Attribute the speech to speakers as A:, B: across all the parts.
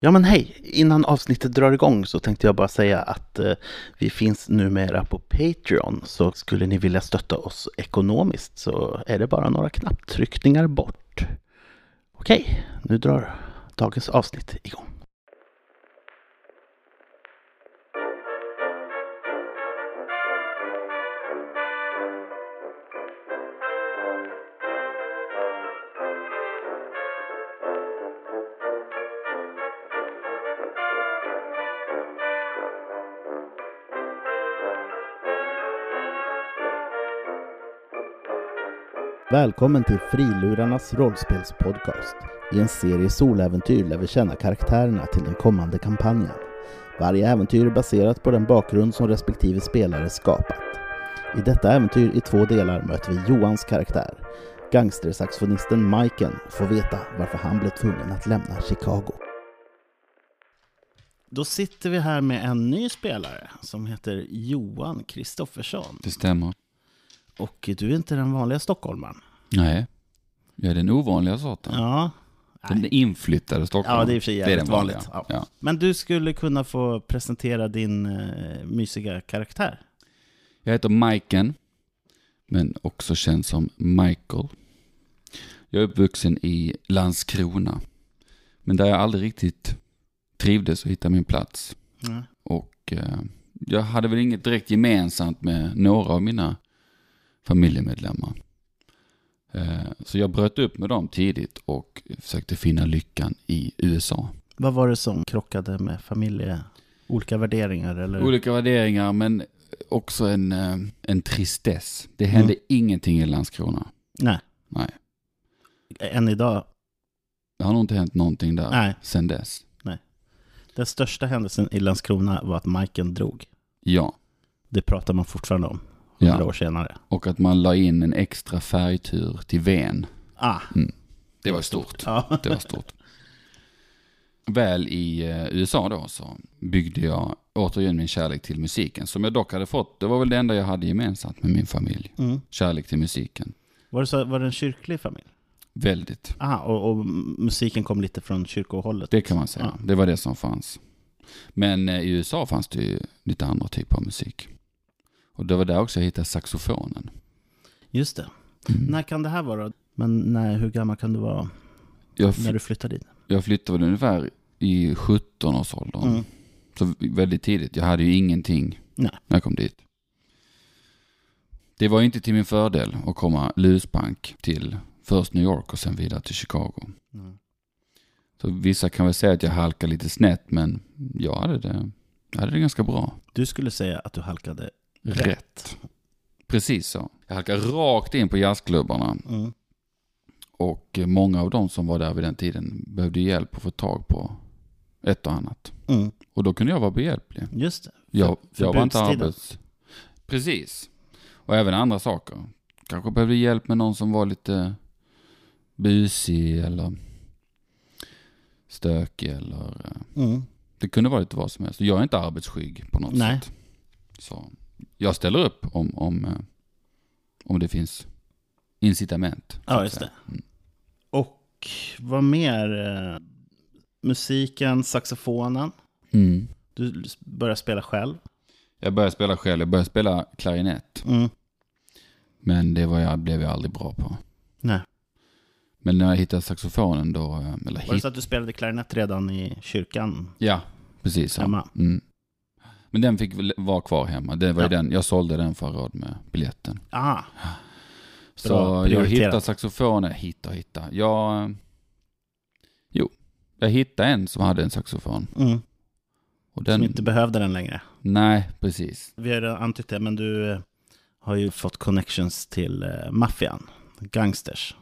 A: Ja men hej! Innan avsnittet drar igång så tänkte jag bara säga att eh, vi finns numera på Patreon. Så skulle ni vilja stötta oss ekonomiskt så är det bara några knapptryckningar bort. Okej, nu drar dagens avsnitt igång.
B: Välkommen till Frilurarnas rollspelspodcast. I en serie soläventyr lär vi känna karaktärerna till den kommande kampanjen. Varje äventyr är baserat på den bakgrund som respektive spelare skapat. I detta äventyr i två delar möter vi Johans karaktär. Gangstersaxofonisten Maiken får veta varför han blev tvungen att lämna Chicago.
A: Då sitter vi här med en ny spelare som heter Johan Kristoffersson.
C: Det stämmer.
A: Och du är inte den vanliga stockholmaren.
C: Nej. Jag är den ovanliga sorten.
A: Ja,
C: Den inflyttade Stockholm.
A: ja det är i och för sig jävligt
C: den vanliga.
A: vanligt. Ja.
C: Ja.
A: Men du skulle kunna få presentera din eh, mysiga karaktär.
C: Jag heter Maiken, men också känd som Michael. Jag är uppvuxen i Landskrona, men där jag aldrig riktigt trivdes och hittade min plats.
A: Mm.
C: Och eh, jag hade väl inget direkt gemensamt med några av mina familjemedlemmar. Eh, så jag bröt upp med dem tidigt och försökte finna lyckan i USA.
A: Vad var det som krockade med familje... Olika värderingar eller?
C: Olika värderingar, men också en, eh, en tristess. Det hände
A: Mm.
C: ingenting i Landskrona.
A: Nej.
C: Nej.
A: Än idag?
C: Det har nog inte hänt någonting där
A: Nej.
C: sedan dess.
A: Den största händelsen i Landskrona var att Majken drog.
C: Ja,
A: Det pratar man fortfarande om, hundra
C: ja.
A: år senare.
C: Och att man la in en extra färgtur till Ven.
A: Ah,
C: Det var stort.
A: ja.
C: Det var stort. Väl i eh, USA då så byggde jag återigen min kärlek till musiken. Som jag dock hade fått, det var väl det enda jag hade gemensamt med min familj.
A: Mm.
C: Kärlek till musiken.
A: Var, det så, var det en kyrklig familj?
C: Väldigt.
A: Ah, och, och musiken kom lite från kyrkohållet?
C: Det kan man säga. Det var det som fanns. Men eh, i USA fanns det ju lite andra typer av musik. Och det var där också jag hittade saxofonen.
A: Just det.
C: Mm.
A: När kan det här vara? Men när, hur gammal kan du vara
C: Jag, f-
A: när du flyttade dit?
C: jag flyttade väl ungefär i 17-årsåldern.
A: Mm.
C: Så väldigt tidigt. Jag hade ju ingenting
A: Nej.
C: när jag kom dit. Det var ju inte till min fördel att komma lusbank till först New York och sen vidare till Chicago.
A: Mm.
C: Så vissa kan väl säga att jag halkade lite snett men jag hade det, jag hade det ganska bra.
A: Du skulle säga att du halkade
C: Rätt. Precis så. Jag halkade rakt in på jazzklubbarna
A: Mm.
C: och många av de som var där vid den tiden behövde hjälp att få tag på ett och annat.
A: Mm.
C: Och då kunde jag vara behjälplig.
A: Just det.
C: Jag,
A: för
C: jag var inte
A: budstiden.
C: arbets... Precis. Och även andra saker. Kanske behövde hjälp med någon som var lite busig eller stökig eller... eh,
A: Mm.
C: Det kunde vara lite vad som helst. Jag är inte arbetsskygg på något
A: Nej.
C: sätt. Så jag ställer upp om, om, eh, om det finns incitament. så
A: Ja,
C: att
A: just
C: säga.
A: det. Och vad mer? Eh, Musiken, saxofonen.
C: Mm.
A: Du började spela själv.
C: Jag började spela själv. Jag började spela klarinett.
A: Mm.
C: Men det var jag, blev jag aldrig bra på.
A: Nej.
C: Men när jag hittade saxofonen då... eh, Eller
A: Var det så att du spelade klarinett redan i kyrkan
C: Ja, precis så.
A: hemma?
C: Mm. Men den fick väl vara kvar hemma. Det var ju
A: Ja.
C: den, jag sålde den för råd med biljetten.
A: Aha.
C: Så
A: Bra,
C: jag
A: prioriterat.
C: hittade saxofoner. Hitta, hitta. Jag... eh, Jo, jag hittade en som hade en saxofon.
A: Mm. Som
C: Och den...
A: inte behövde den längre.
C: Nej, precis.
A: Vi har redan antytt det, men du eh, har ju fått connections till eh, maffian. Gangsters.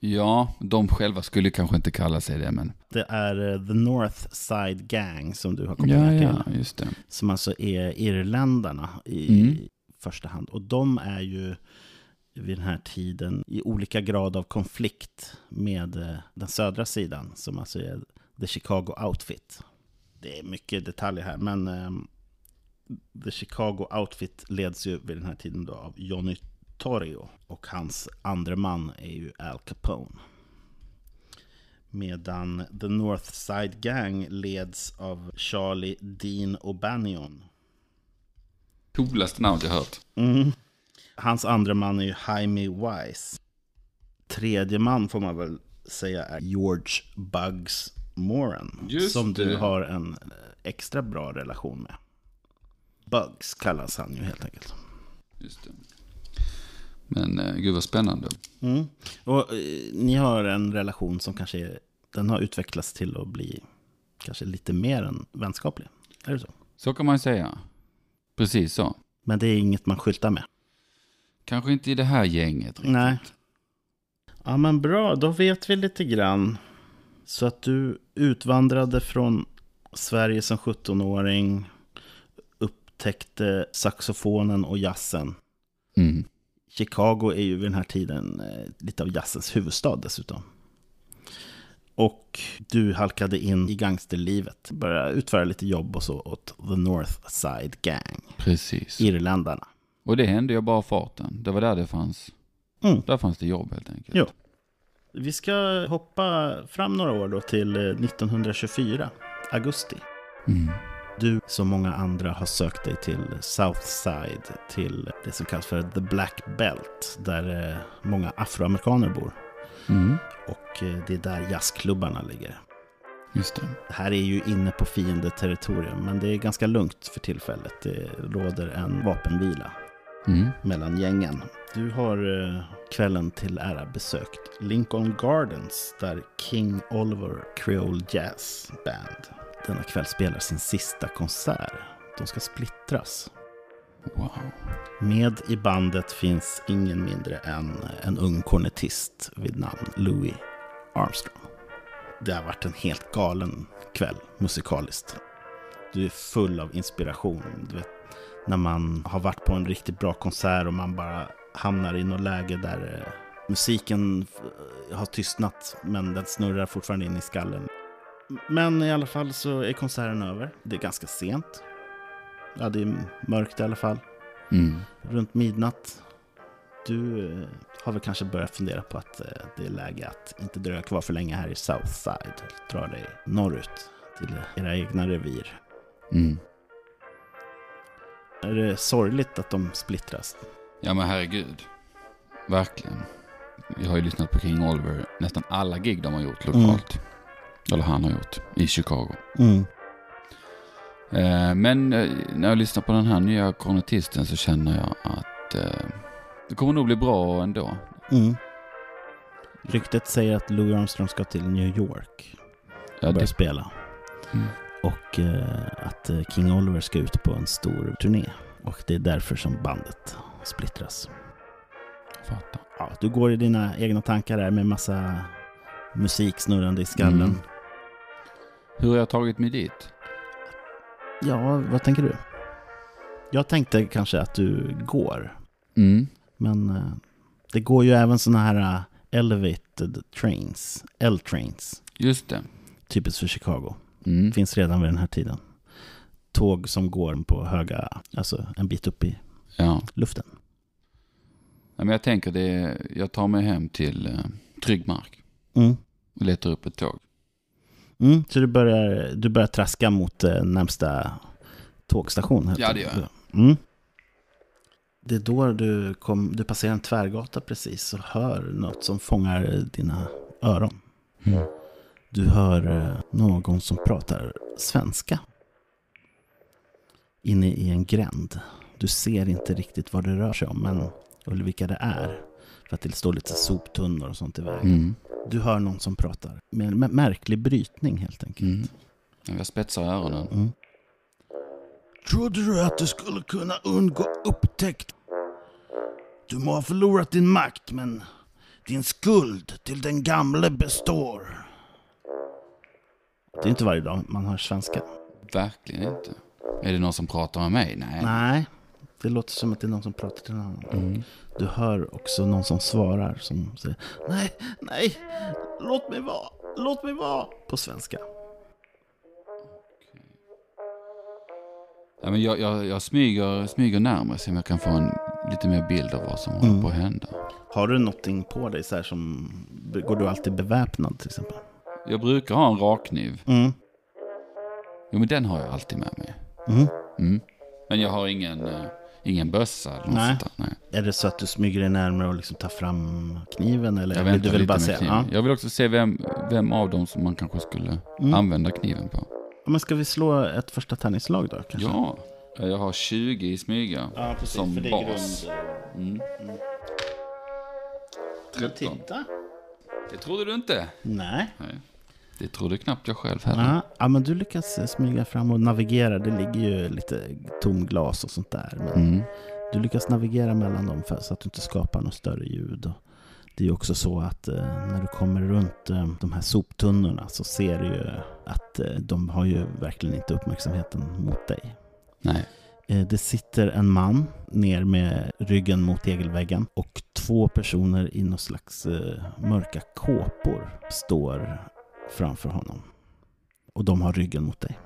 C: Ja, de själva skulle kanske inte kalla sig det, men...
A: Det är eh, The North Side Gang som du har kommit
C: Ja,
A: med
C: ja,
A: till.
C: just det.
A: Som alltså är irländarna i
C: Mm.
A: första hand. Och de är ju vid den här tiden i olika grad av konflikt med eh, den södra sidan. Som alltså är The Chicago Outfit. Det är mycket detaljer här, men ehm, The Chicago Outfit leds ju vid den här tiden då av Johnny Torrio och hans andre man är ju Al Capone. Medan The North Side Gang leds av Charlie Dean O'Banion.
C: Coolaste namnet jag hört.
A: Mm. Hans andra man är ju Jaime Wise. Tredje man får man väl säga är George Bugs Moran.
C: Just
A: som du
C: det.
A: har en eh, extra bra relation med. Bugs kallas han ju helt enkelt.
C: Just det. Men eh, gud vad spännande.
A: Mm. Och eh, ni har en relation som kanske är, den har utvecklats till att bli kanske lite mer än vänskaplig. Är det så?
C: Så kan man ju säga. Precis så.
A: Men det är inget man skyltar med.
C: Kanske inte i det här gänget riktigt.
A: Nej. Ja men bra, då vet vi lite grann. Så att du utvandrade från Sverige som 17-åring, upptäckte saxofonen och jazzen.
C: Mm.
A: Chicago är ju vid den här tiden eh, lite av jazzens huvudstad dessutom. Och du halkade in i gangsterlivet, började utföra lite jobb och så åt The North Side Gang,
C: Precis.
A: Irländarna.
C: Och det hände ju bara farten. Det var där det fanns.
A: Mm.
C: Där fanns det jobb helt enkelt.
A: Jo. Vi ska hoppa fram några år då till eh, 1924, augusti.
C: Mm.
A: Du som många andra har sökt dig till Southside, till det som kallas för The Black Belt, där eh, många afroamerikaner bor.
C: Mm.
A: Och eh, det är där jazzklubbarna ligger.
C: Just det.
A: Det här är ju inne på fiendeterritorium, men det är ganska lugnt för tillfället. Det råder en vapenvila
C: Mm.
A: mellan gängen. Du har eh, kvällen till ära besökt Lincoln Gardens där King Oliver Creole Jazz Band denna kväll spelar sin sista konsert. De ska splittras.
C: Wow.
A: Med i bandet finns ingen mindre än en ung kornetist vid namn Louis Armstrong. Det har varit en helt galen kväll musikaliskt. Du är full av inspiration. Du vet, när man har varit på en riktigt bra konsert och man bara hamnar i något läge där eh, musiken eh, har tystnat men den snurrar fortfarande in i skallen. Men i alla fall så är konserten över. Det är ganska sent. Ja, det är mörkt i alla fall
C: Mm.
A: runt midnatt. Du eh, har väl kanske börjat fundera på att eh, det är läge att inte dröja kvar för länge här i Southside. Dra dig norrut till era egna revir.
C: Mm.
A: Är det sorgligt att de splittras?
C: Ja men herregud. Verkligen. Jag har ju lyssnat på King Oliver nästan alla gig de har gjort lokalt. Eller han har gjort i Chicago. Eh, men eh, när jag lyssnar på den här nya kornetisten så känner jag att eh, det kommer nog bli bra ändå. mm.
A: Ryktet säger att Louis Armstrong ska till New York
C: Ja,
A: och börja
C: det,
A: spela.
C: Mm.
A: Och eh, att eh, King Oliver ska ut på en stor turné. Och det är därför som bandet splittras.
C: fattar.
A: ja, du går i dina egna tankar där med massa musik snurrande i skallen.
C: Mm. Hur har jag tagit mig dit?
A: Ja, vad tänker du? Jag tänkte kanske att du går,
C: Mm.
A: men eh, det går ju även sådana här eh, elevated trains, L-trains,
C: Just det.
A: typiskt för Chicago.
C: Mm.
A: Finns redan vid den här tiden. Tåg som går på höga, alltså en bit upp i
C: Ja.
A: luften.
C: Ja, men jag tänker det, jag tar mig hem till eh, trygg mark
A: Mm.
C: och letar upp ett tåg.
A: Mm, så du börjar, du börjar traska mot eh, närmsta tågstation? helt
C: Ja, det gör
A: enkelt. Mm. Det är då du, kom, du passerar en tvärgata precis och hör något som fångar eh, dina öron.
C: Mm.
A: Du hör eh, någon som pratar svenska. Inne i en gränd. Du ser inte riktigt vad det rör sig om, men, eller vilka det är. För att det står lite soptunnor och sånt i vägen.
C: Mm.
A: Du hör någon som pratar med en mä- märklig brytning helt enkelt.
C: Mm. Ja, Jag spetsar öronen.
A: Trodde du att du skulle kunna undgå upptäckt? Du må ha förlorat din makt, men din skuld till den gamle består. Det är inte varje dag man hör svenska.
C: Verkligen inte. Är det någon som pratar med mig? Nej.
A: Nej, det låter som att det är någon som pratar till en annan. Du hör också någon som svarar som säger Nej, nej, låt mig vara, låt mig vara på svenska.
C: Ja, men jag jag, jag smyger, smyger närmare så jag kan få en lite mer bild av vad som
A: Mm.
C: håller på att hända.
A: Har du någonting på dig så här som, går du alltid beväpnad till exempel?
C: Jag brukar ha en rakkniv.
A: Mm.
C: Jo, men den har jag alltid med mig.
A: Mm.
C: Mm. Men jag har ingen, eh, ingen bössa eller något
A: Nej.
C: sånt där. Nej.
A: Är det så att du smyger dig närmare och liksom tar fram kniven? Eller
C: Jag
A: vill du
C: väntar
A: väl
C: lite
A: bara
C: med
A: säga?
C: kniven.
A: Ja. Mm.
C: Jag vill också se vem, vem av dem som man kanske skulle använda kniven på.
A: Ja, Men ska vi slå ett första tärningslag då? Kanske?
C: Ja, jag har 20 i smyga
A: Ja, precis.
C: som
A: för det är
C: bas.
A: grund...
C: Mm.
A: Men
C: 13.
A: Titta.
C: Det trodde du inte.
A: Nej.
C: Nej. Det trodde knappt jag själv heller.
A: Ja, ja, men du lyckas eh, smyga fram och navigera. Det ligger ju lite tomglas och sånt där. Men
C: Mm.
A: Du lyckas navigera mellan dem för, så att du inte skapar något större ljud. Och det är ju också så att eh, när du kommer runt eh, de här soptunnorna så ser du ju att eh, de har ju verkligen inte uppmärksamheten mot dig.
C: Nej.
A: Eh, det sitter en man ner med ryggen mot tegelväggen och två personer i någon slags eh, mörka kåpor står framför honom. Och de har ryggen mot dig.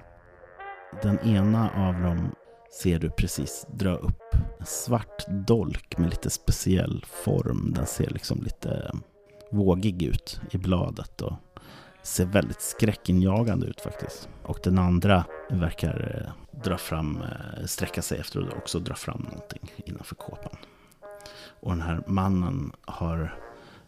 A: Den ena av dem ser du precis dra upp en svart dolk med lite speciell form. Den ser liksom lite vågig ut i bladet och ser väldigt skräckinjagande ut faktiskt. Och den andra verkar eh, dra fram, eh, sträcka sig efter och också dra fram någonting innanför kåpan. Och den här mannen har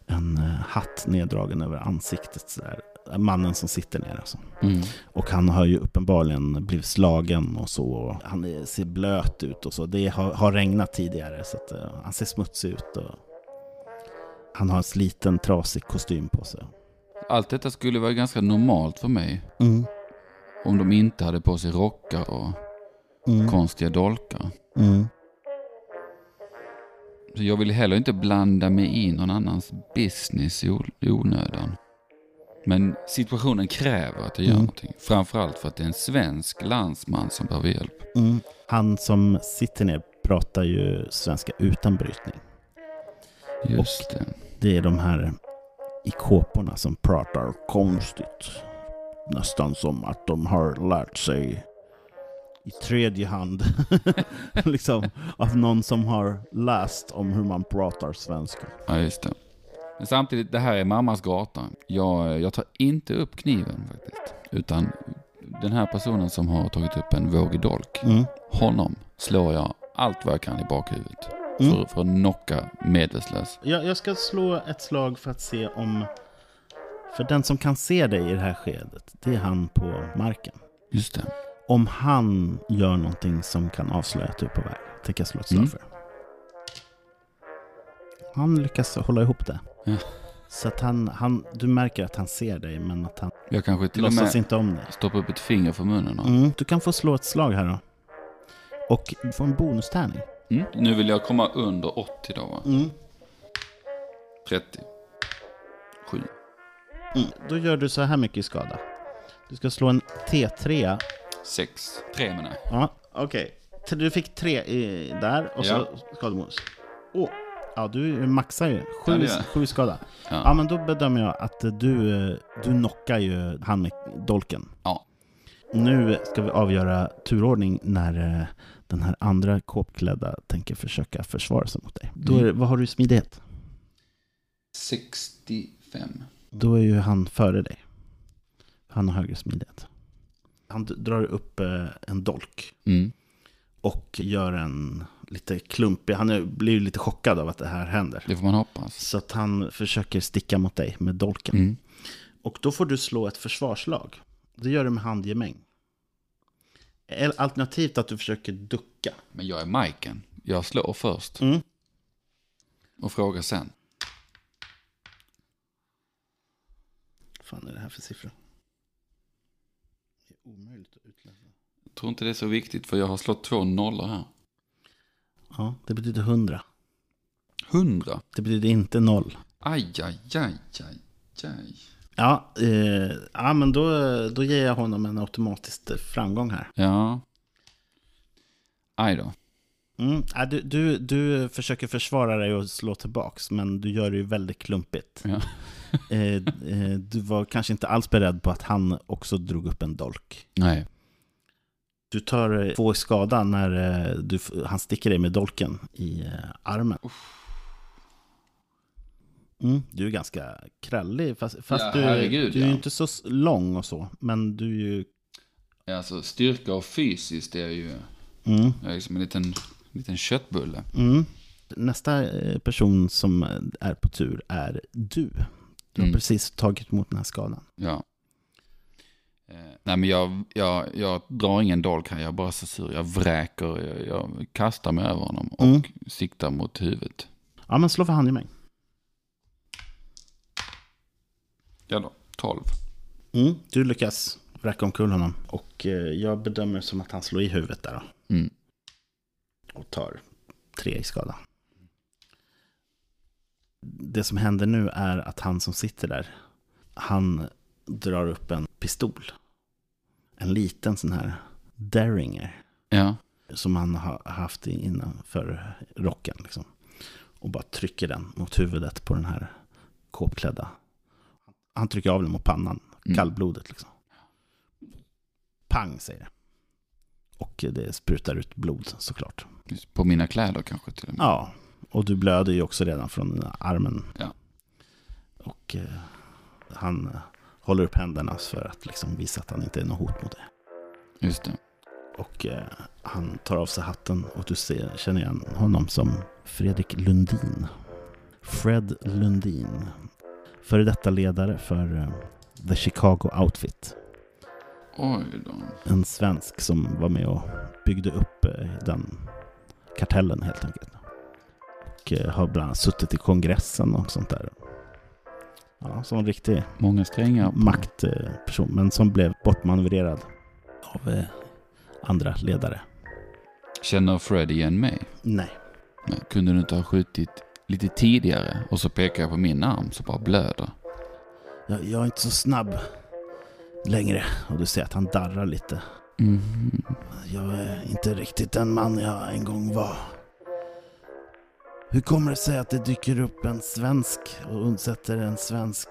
A: en eh, hatt neddragen över ansiktet. Sådär. Mannen som sitter ner alltså.
C: Mm.
A: Och han har ju uppenbarligen blivit slagen och så. Och Han är- ser blöt ut och så. Det har, har regnat tidigare så att, eh, han ser smutsig ut. Och han har en sliten trasig kostym på sig.
C: Allt detta skulle vara ganska normalt för mig.
A: Mm.
C: Om de inte hade på sig rockar och
A: Mm.
C: konstiga dolkar.
A: Mm.
C: Så jag vill heller inte blanda mig i någon annans business i o- i onödan. Men situationen kräver att jag gör
A: Mm.
C: någonting. Framförallt för att det är en svensk landsman som behöver hjälp.
A: Mm. Han som sitter ner pratar ju svenska utan brytning.
C: Just det.
A: Det är de här i kåporna som pratar konstigt. Nästan som att de har lärt sig i tredje hand. liksom av någon som har läst om hur man pratar svenska.
C: Ja, just det. Men samtidigt, det här är mammas gata. Jag, jag tar inte upp kniven faktiskt. Utan den här personen som har tagit upp en vågig dolk.
A: Mm.
C: Honom slår jag allt vad jag kan i bakhuvudet.
A: Mm.
C: För, för att knocka medvetslös.
A: Jag, jag ska slå ett slag för att se om... För den som kan se dig i det här skedet, det är han på marken.
C: Just det.
A: Om han gör någonting som kan avslöja att du är på väg, tänker jag slå ett slag
C: Mm.
A: för. Han lyckas hålla ihop det.
C: Ja.
A: Så att han, han, du märker att han ser dig, men att han
C: Jag kanske till och med
A: låtsas inte om dig.
C: stoppar upp ett finger för munnen. och-
A: Mm. Du kan få slå ett slag här då. Och du får en bonustärning.
C: Mm. Nu vill jag komma under 80 då va?
A: Mm.
C: 30. 7.
A: mm. Då gör du så här mycket i skada. Du ska slå en T3.
C: 6. 3 menar jag.
A: Ja, okej. T- Du fick tre i, där och
C: Ja.
A: så skadebonus. Åh, ja du maxar ju. Sju,
C: Ja, det gör jag.
A: sju i skada.
C: Ja.
A: Ja, men då bedömer jag att du, eh, du knockar ju han med dolken.
C: Ja.
A: Nu ska vi avgöra turordning när eh, den här andra kåpklädda tänker försöka försvara sig mot dig. Då är, det- Vad har du i smidighet?
C: 65.
A: Då är ju han före dig. Han har högre smidighet. Han d- drar upp eh, en dolk
C: Mm.
A: och gör en lite klumpig, han är, blir ju lite chockad av att det här händer.
C: Det får man hoppas.
A: Så att han försöker sticka mot dig med dolken.
C: Mm.
A: Och då får du slå ett försvarslag. Det gör du med handgemäng. Eller Alternativt att du försöker ducka.
C: Men jag är Majken. Jag slår först.
A: Mm.
C: Och frågar sen.
A: Vad fan är det här för siffror? Det är omöjligt att utläsa.
C: Jag tror inte det är så viktigt för jag har slått två nollor här.
A: Ja, det betyder 100.
C: 100.
A: Det betyder inte noll.
C: Aj, aj, aj, aj, aj.
A: Ja, eh, ja men då, då ger jag honom en automatisk framgång här.
C: Ja. Aj då.
A: Mm. ja, Du, du, du försöker försvara dig och slå tillbaks, men du gör det ju väldigt klumpigt.
C: Ja.
A: Eh, eh, du var kanske inte alls beredd på att han också drog upp en dolk.
C: Nej.
A: Du tar eh, två i skada när eh, du, f- han sticker dig med dolken i eh, armen. Mm, du är ganska krallig, fast, fast
C: Ja,
A: du,
C: herregud,
A: du är ju
C: ja.
A: inte så s- lång och så. Men du är ju...
C: Alltså styrka och fysiskt det är ju
A: Mm,
C: jag är liksom en liten, liten köttbulle.
A: mm. Nästa eh, person som är på tur är du. Du har
C: Mm.
A: precis tagit emot den här skadan.
C: Ja. Eh, nej men jag, jag, jag drar ingen dolk här, jag är bara så sur. Jag vräker, jag, jag kastar mig över honom och
A: Mm.
C: siktar mot huvudet.
A: Ja, men slå för hand i mig.
C: Ja då, 12.
A: Mm, du lyckas räcka omkull honom. Och eh, jag bedömer som att han slår i huvudet där då.
C: Mm.
A: och tar tre i skada. Det som händer nu är att han som sitter där, han drar upp en pistol. En liten sån här Derringer
C: Ja,
A: som han har haft i- innanför rocken. Liksom. Och bara trycker den mot huvudet på den här kåpklädda. Han trycker av den mot pannan,
C: Mm.
A: kallblodigt liksom. Pang säger det. Och det sprutar ut blod såklart.
C: på mina kläder kanske till och med.
A: Ja, och du blöder ju också redan från den här armen.
C: Ja.
A: Och eh, han eh, håller upp händerna för att liksom visa att han inte är något hot mot dig.
C: Just det.
A: Och eh, han tar av sig hatten och du ser, känner igen honom som Fredrik Lundin. Fred Lundin. Före detta ledare för eh, The Chicago Outfit.
C: Oj då.
A: En svensk som var med och byggde upp eh, den kartellen helt enkelt. Och eh, har bland annat suttit i kongressen och sånt där. Ja, som en riktig
C: Många strängar. på-
A: maktperson, eh, men som blev bortmanövrerad av eh, andra ledare.
C: Känner Fred igen mig?
A: Nej.
C: Nej. Kunde du inte ha skjutit lite tidigare? Och så pekar jag på min arm så bara blöder.
A: Jag, jag är inte så snabb längre. Och du ser att han darrar lite.
C: Mhm.
A: Jag är inte riktigt den man jag en gång var. Hur kommer det sig att det dyker upp en svensk och undsätter en svensk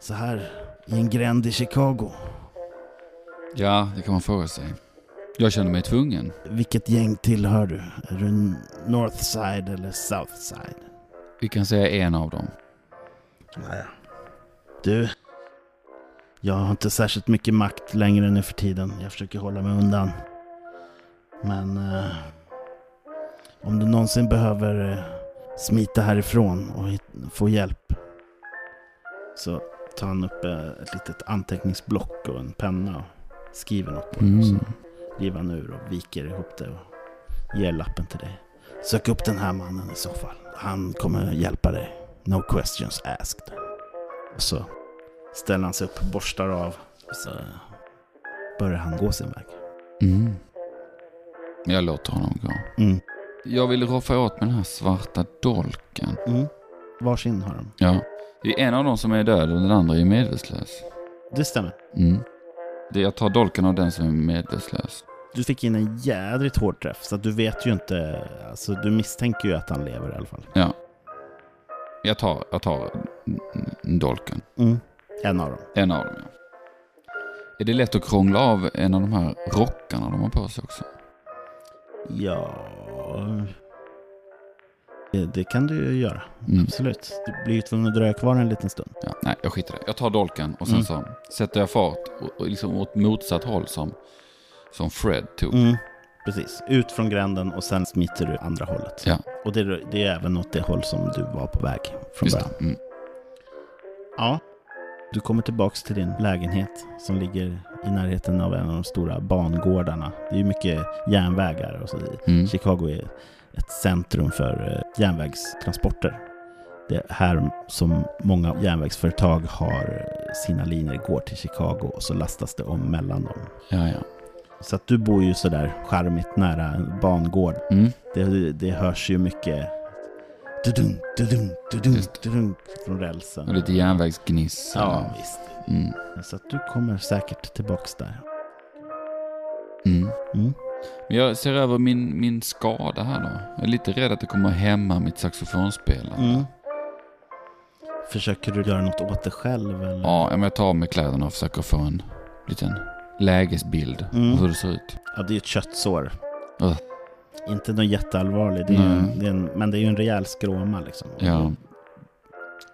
A: så här i en gränd i Chicago?
C: Ja, det kan man fråga sig. Jag känner mig tvungen.
A: Vilket gäng tillhör du? Är du Northside eller Southside?
C: Vi kan säga en av dem.
A: Naja. Du, jag har inte särskilt mycket makt längre nu för tiden. Jag försöker hålla mig undan. Men eh, om du någonsin behöver eh, smita härifrån och hit- få hjälp så tar han upp eh, ett litet anteckningsblock och en penna och skriver något på det. och Så
C: Mm.
A: river han ur och viker ihop det och ger lappen till dig. Sök upp den här mannen i så fall. Han kommer hjälpa dig. No questions asked. Och så ställer han sig upp, borstar av. Och så börjar han gå sin väg.
C: Mm. Jag låter honom gå.
A: Mm.
C: Jag vill roffa åt med den här svarta dolken.
A: Mm. Varsin har de.
C: Ja. Det är en av dem som är död och den andra är medvetslös.
A: Det stämmer.
C: Mm. Det- Jag tar dolken av den som är medvetslös.
A: Du fick in en jädrigt hård träff, så att du vet ju inte. Alltså, du misstänker ju att han lever i alla fall.
C: Jag tar, jag tar mm, dolken.
A: Mm. En av dem.
C: En av dem, ja. Är det lätt att krångla av en av de här rockarna de har på sig också?
A: Ja... Det, det kan du ju göra.
C: Mm.
A: Absolut. Du blir ju tvungen att dröja kvar en liten stund.
C: Ja, nej, jag skiter i det. Jag tar dolken och sen
A: Mm.
C: så sätter jag fart och, och liksom åt motsatt håll som, som Fred tog.
A: Mm. Precis. Ut från gränden och sen smiter du andra hållet.
C: Ja.
A: Och det, är- det är även åt det håll som du var på väg från
C: Just
A: början.
C: det. Mm.
A: Ja. Du kommer tillbaks till din lägenhet som ligger i närheten av en av de stora bangårdarna. Det är ju mycket järnvägar och så.
C: Mm.
A: Chicago är ett centrum för eh, järnvägstransporter. Det är här som många järnvägsföretag har eh, sina linjer går till Chicago och så lastas det om mellan dem.
C: Ja, ja.
A: Så att du bor ju sådär charmigt nära en bangård.
C: Mm.
A: Det, det hörs ju mycket dudung, dudung, dudung,
C: Just.
A: dudung från
C: Och
A: rälsen.
C: lite järnvägsgniss.
A: Ja, visst.
C: Mm.
A: Så att du kommer säkert tillbaks där.
C: Mm.
A: Mm.
C: Men jag ser över min, min skada här då. Jag är lite rädd att det kommer att hämma mitt saxofonspelande.
A: Mm. Försöker du göra något åt det själv eller?
C: Ja, men jag tar av mig kläderna och försöker få en liten lägesbild
A: Mm.
C: av hur det ser ut.
A: Ja, det är ju ett köttsår.
C: Ugh.
A: Inte något jätteallvarligt, det är ju,
C: Nej.
A: det är en, men det är ju en rejäl skråma liksom. Och
C: Ja.
A: då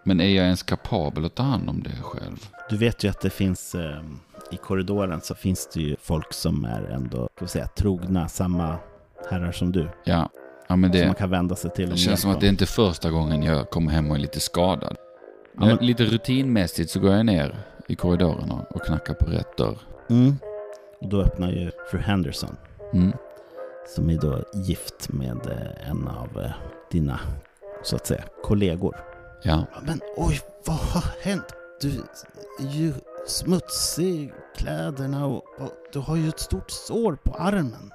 C: Men är jag ens kapabel att ta hand om det själv?
A: Du vet ju att det finns eh, i korridoren så finns det ju folk som är ändå, ska vi säga, trogna samma herrar som du.
C: Ja, ja men
A: Som
C: det,
A: Alltså, man kan vända sig till.
C: det
A: och
C: känns som
A: hjälpa.
C: att det är inte första gången jag kommer hem och är lite skadad.
A: Ja, men-
C: Lite rutinmässigt så går jag ner i korridoren och- och knackar på rätt dörr.
A: Mm. Och då öppnar ju fru Henderson,
C: Mm.
A: som är då gift med eh, en av eh, dina, så att säga, kollegor.
C: Ja,
A: Ja, Men oj, vad har hänt? Du är ju smutsig i kläderna och, och du har ju ett stort sår på armen.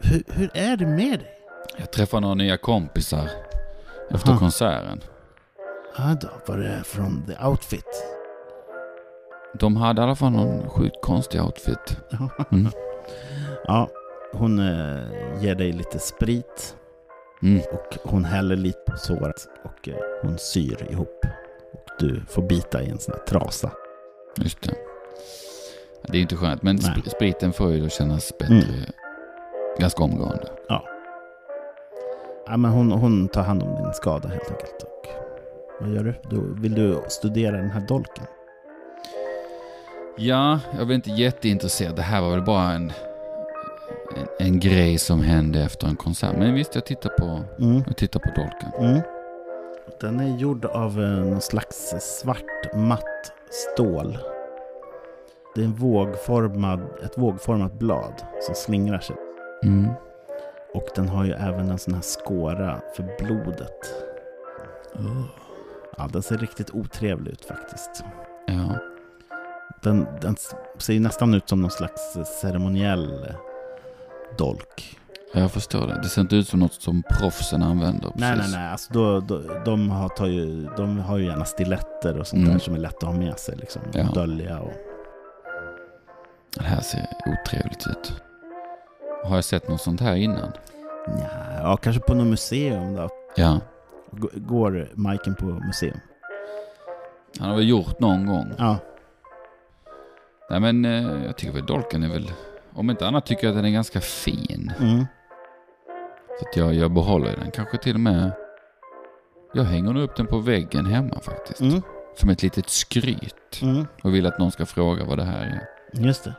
A: Hur, hur är det med dig?
C: jag träffar några nya kompisar efter
A: Aha.
C: konserten.
A: Ja då, var det från The Outfit?
C: De hade i alla fall någon sjukt konstig outfit.
A: Ja.
C: Mm.
A: Ja, hon eh, ger dig lite sprit
C: Mm.
A: och hon häller lite på såret och eh, hon syr ihop. Och du får bita i en sån här trasa.
C: Just det. Det är ju inte skönt, men
A: Nej. Mm.
C: sp- spriten får ju då kännas bättre ganska omgående.
A: Ja, men hon, hon tar hand om din skada helt enkelt. Och vad gör du? du? Vill du studera den här dolken?
C: Ja, jag var inte jätteintresserad. Det här var väl bara en, en, en grej som hände efter en konsert. Men visst, jag tittar på,
A: Mm.
C: jag tittar på dolken.
A: Mm. Den är gjord av eh, någon slags svart matt stål. Det är en vågformad, ett vågformat blad som slingrar sig.
C: Mm.
A: Och den har ju även en sån här skåra för blodet. Ja, den ser riktigt otrevlig ut faktiskt.
C: Ja.
A: Den, den s- ser ju nästan ut som någon slags eh, ceremoniell eh, dolk.
C: ja, jag förstår det. Det ser inte ut som något som proffsen använder.
A: Nej, nej,
C: precis.
A: nej. Alltså, då, då, de, har, tar ju, de har ju gärna stiletter och sånt
C: Mm.
A: där som är lätt att ha med sig. Liksom.
C: Ja.
A: Och Dölja och...
C: Det här ser otrevligt ut. Har jag sett något sånt här innan?
A: Nja, ja, kanske på något museum då.
C: Ja.
A: G- Går Majken på museum?
C: Han har väl gjort någon gång.
A: Ja.
C: Nej men eh, jag tycker väl dolken är väl... Om inte annat tycker jag att den är ganska fin.
A: Mm.
C: Så att jag, jag behåller den. Kanske till och med... Jag hänger nog upp den på väggen hemma faktiskt.
A: Mm.
C: Som ett litet skryt.
A: Mm.
C: Och vill att någon ska fråga vad det här är.
A: Just det.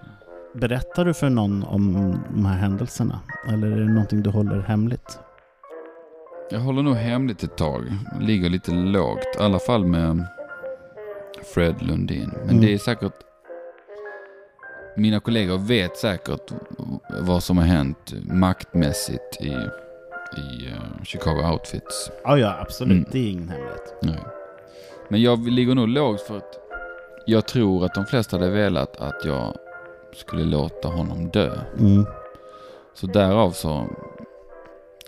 A: Berättar du för någon om de här händelserna? Eller är det någonting du håller hemligt?
C: Jag håller nog hemligt ett tag. Ligger lite lågt. I alla fall med Fred Lundin. Men
A: Mm.
C: det är säkert... Mina kollegor vet säkert vad som har hänt maktmässigt i, i eh, Chicago Outfits.
A: Ja, ja, absolut.
C: Mm.
A: Det är ingen hemlighet.
C: Nej. Men jag ligger nog lågt för att jag tror att de flesta hade velat att jag skulle låta honom dö.
A: Mm.
C: Så därav så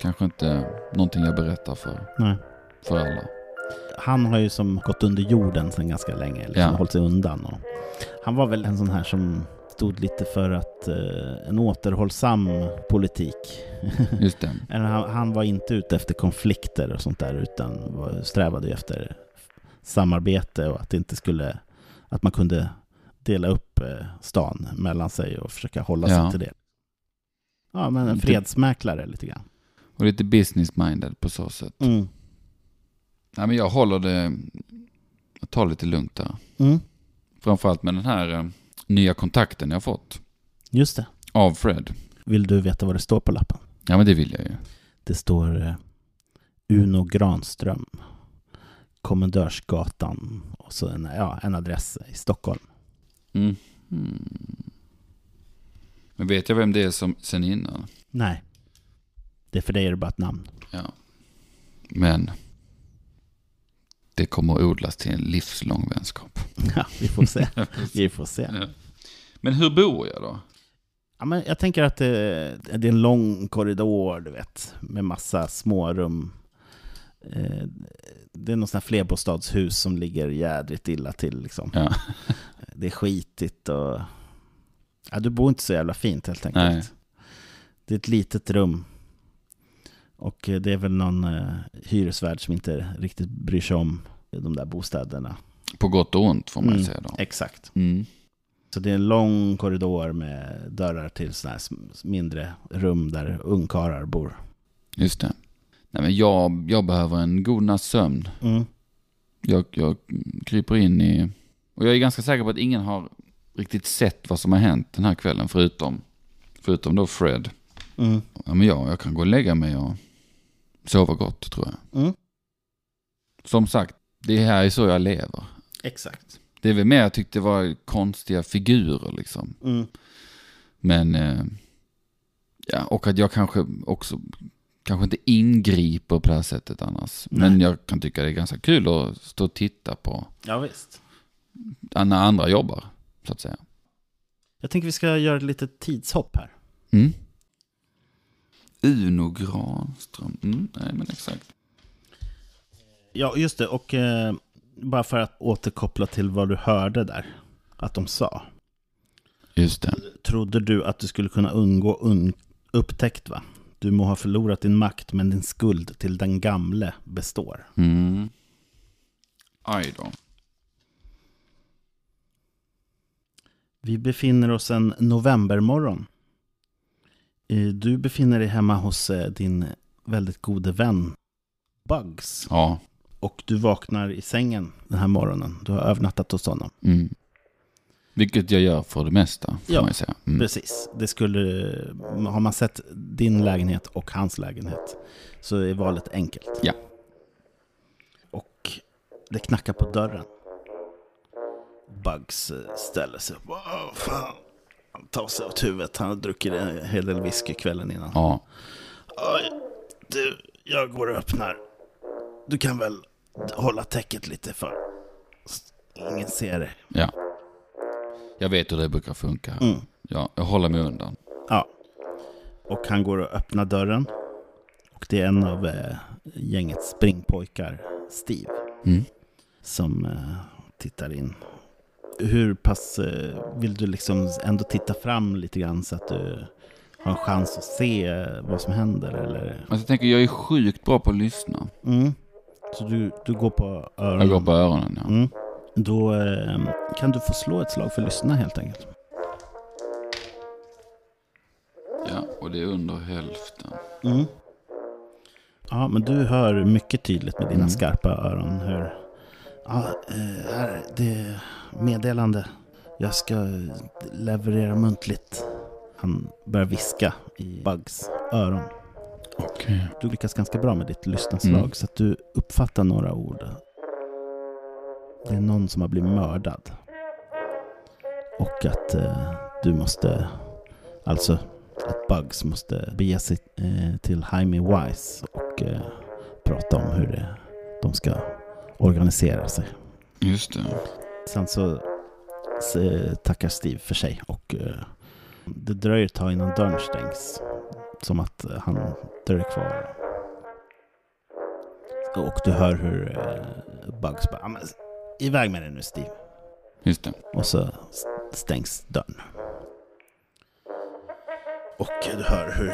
C: kanske inte någonting jag berättar för,
A: Nej.
C: för alla.
A: Han har ju som gått under jorden sedan ganska länge, liksom,
C: Ja.
A: hållit sig undan. Och han var väl en sån här som stod lite för att eh, en återhållsam politik.
C: Just det.
A: Eller han, han var inte ute efter konflikter och sånt där, utan var, strävade ju efter samarbete och att det inte skulle, att man kunde dela upp eh, stan mellan sig och försöka hålla
C: Ja.
A: sig till det. Ja, men en
C: Det-
A: fredsmäklare lite grann.
C: Och lite business-minded på så sätt.
A: Mm.
C: Nej men jag håller det, jag tar lite lugnt där.
A: Mm.
C: Framförallt med den här eh, nya kontakten jag fått
A: Just det.
C: av Fred.
A: Vill du veta vad det står på lappen?
C: Ja men det vill jag ju.
A: Det står eh, Uno Granström, Kommendörsgatan och så en, ja, en adress i Stockholm.
C: Mm. Mm. Men vet jag vem det är som, sen innan?
A: Nej, det är för dig är det bara ett namn.
C: Ja. Men det kommer att odlas till en livslång vänskap.
A: Ja, vi får se. vi får se.
C: Men hur bor jag då?
A: Ja, men jag tänker att eh, det, det är en lång korridor, du vet, med massa smårum. Eh, Det är något sånt här flerbostadshus som ligger jädrigt illa till. Liksom.
C: Ja.
A: Det är skitigt och... Ja, du bor inte så jävla fint helt enkelt.
C: Nej.
A: Det är ett litet rum. Och eh, det är väl någon eh, hyresvärd som inte riktigt bryr sig om de där bostäderna.
C: På gott och ont får man ju
A: Mm.
C: säga då.
A: Exakt.
C: Mm.
A: Så det är en lång korridor med dörrar till sådana här sm- mindre rum där ungkarlar bor. Mm,
C: Just det. Nej, men jag, jag behöver en god natts sömn. Jag, jag kryper in i... Och jag är ganska säker på att ingen har riktigt sett vad som har hänt den här kvällen förutom, förutom då Fred.
A: Mm.
C: Ja, men jag, jag kan gå och lägga mig och sova gott tror jag.
A: Mm.
C: Som sagt, det här är så jag lever.
A: Exakt.
C: Det är väl mer jag tyckte var konstiga figurer liksom.
A: Mm.
C: Men, eh, ja, och att jag kanske också, kanske inte ingriper på det här sättet annars. Men jag kan tycka det är ganska kul att stå och titta på
A: Ja, visst.
C: när andra jobbar, så att säga.
A: Jag tänker vi ska göra ett litet tidshopp här.
C: Mm. Uno Granström, mm, nej men exakt.
A: Ja, just det. Och eh, bara för att återkoppla till vad du hörde där, att de sa.
C: Just det.
A: Trodde du att du skulle kunna undgå un- upptäckt, va? Du må ha förlorat din makt, men din skuld till den gamle består.
C: Mm. Aj då.
A: Vi befinner oss en novembermorgon. Eh, Du befinner dig hemma hos eh, din väldigt gode vän Bugs.
C: Ja.
A: Och du vaknar i sängen den här morgonen. Du har övernattat hos honom.
C: Mm. Vilket jag gör för det mesta, får
A: Ja.
C: man ju säga. Mm.
A: Precis. Det skulle... Har man sett din lägenhet och hans lägenhet så är valet enkelt.
C: Ja.
A: Och det knackar på dörren. Bugs eh, ställer sig upp. Åh, fan. Han tar sig åt huvudet. Han har druckit en hel del whisky kvällen innan.
C: Ja.
A: Oj, du, jag går och öppnar. Du kan väl hålla täcket lite för s- ingen ser dig.
C: Ja. Jag vet hur det brukar funka.
A: Mm.
C: Ja, jag håller mig undan.
A: Ja. Och han går och öppnar dörren. Och det är en av eh, gängets springpojkar, Steve,
C: Mm.
A: som eh, tittar in. Hur pass eh, vill du liksom ändå titta fram lite grann så att du har en chans att se eh, vad som händer? Eller?
C: Alltså, jag tänker, jag är sjukt bra på att lyssna.
A: Mm. Så du, du går på öronen?
C: Jag går på öronen, ja.
A: Mm. Då eh, kan du få slå ett slag för att lyssna helt enkelt.
C: ja. Och det är under hälften.
A: Mm. Ja, men du hör mycket tydligt med dina
C: Mm.
A: skarpa öron hur... Ja, eh, här, det är meddelande. Jag ska eh, leverera muntligt. Han börjar viska i Bugs öron.
C: Okej.
A: Du lyckas ganska bra med ditt lyssnarslag
C: Mm.
A: så att du uppfattar några ord. Det är någon som har blivit mördad. Och att eh, du måste, alltså att Bugs måste bege sig eh, till Jaime Wise och eh, prata om hur det, de ska organisera sig.
C: Just det.
A: Sen så s- tackar Steve för sig och eh, det dröjer ett tag innan dörren stängs. Som att eh, han dröjer kvar. Och du hör hur eh, Bugs bara, "Ja, men iväg med dig nu Steve.
C: Just det.
A: Och så s- stängs dörren. Och du hör hur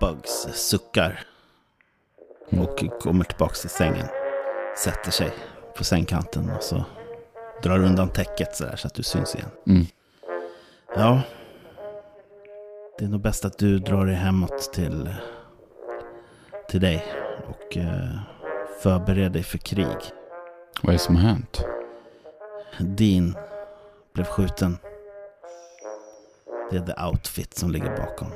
A: Bugs suckar.
C: Mm.
A: Och kommer tillbaks till sängen. Sätter sig på sängkanten och så drar undan täcket så, här så att du syns igen.
C: Mm.
A: Ja. Det är nog bäst att du drar dig hemåt till, till dig. Och eh, förbereder dig för krig.
C: Vad är det som har hänt?
A: Dean blev skjuten. Det är The Outfit som ligger bakom.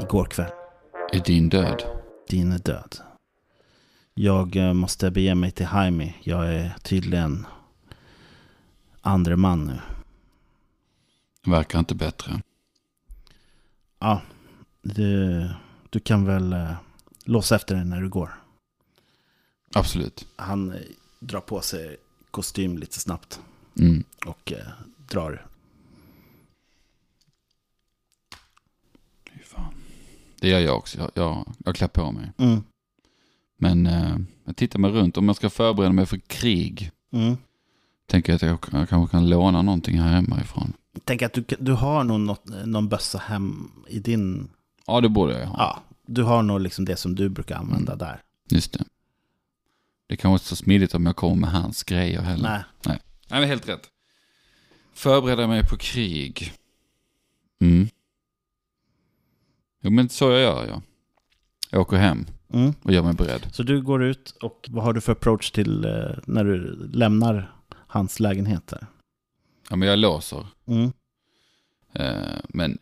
A: Igår kväll.
C: Är din död?
A: Dean är död. Jag eh, måste bege mig till Jaime. Jag är tydligen andre man nu.
C: Verkar inte bättre.
A: Ja, du, du kan väl eh, låsa efter dig när du går.
C: Absolut.
A: Han eh, drar på sig kostym lite snabbt
C: Mm.
A: och eh, drar.
C: Fy fan. Det gör jag också. Jag, jag, jag klär på mig.
A: Mm,
C: Men eh, jag tittar mig runt. Om jag ska förbereda mig för krig
A: mm.
C: tänker jag att jag, kan- jag kanske kan låna någonting här hemifrån.
A: Tänk att du, du har nog något, eh, någon bössa hem i din...
C: Ja, det borde jag ha.
A: Ja, du har nog liksom det som du brukar använda där.
C: Just det. Det kanske inte är så smidigt om jag kommer med hans grejer heller.
A: Nej.
C: Nej, men helt rätt. Förbereda mig på krig. Mm. Jo, men så jag gör jag. Jag åker hem.
A: Mm.
C: och gör mig beredd.
A: Så du går ut och vad har du för approach till eh, när du lämnar hans lägenhet där?
C: Ja, men jag låser.
A: Mm.
C: Eh, men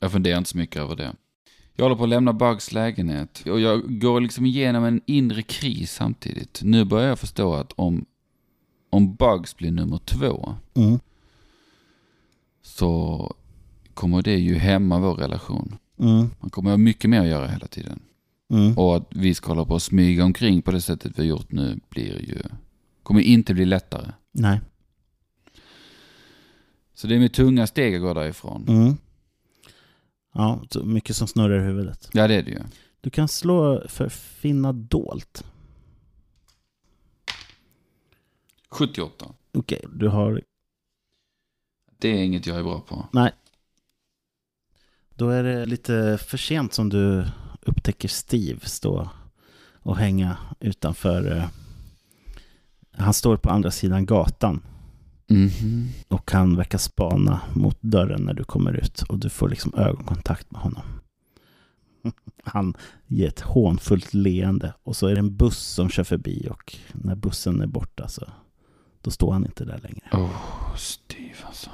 C: jag funderar inte så mycket över det. Jag håller på att lämna Bugs lägenhet och jag går liksom igenom en inre kris samtidigt. Nu börjar jag förstå att om, om Bugs blir nummer två
A: Mm.
C: så kommer det ju hämma vår relation.
A: Mm.
C: Man kommer ha mycket mer att göra hela tiden.
A: Mm.
C: Och att vi ska hålla på och smyga omkring på det sättet vi har gjort nu blir ju, kommer inte bli lättare.
A: Nej.
C: Så det är med tunga steg jag går därifrån.
A: Mm. Ja, så mycket som snurrar i huvudet.
C: Ja, det är det ju.
A: Du kan slå för finna dolt.
C: 78.
A: Okej, du har...
C: Det är inget jag är bra på.
A: Då är det lite för sent som du upptäcker Steve stå och hänga utanför... eh, Han står på andra sidan gatan
C: Mhm.
A: och han verkar spana mot dörren när du kommer ut och du får liksom ögonkontakt med honom. Han ger ett hånfullt leende och så är det en buss som kör förbi och när bussen är borta så då står han inte där längre.
C: Oh, Steve alltså.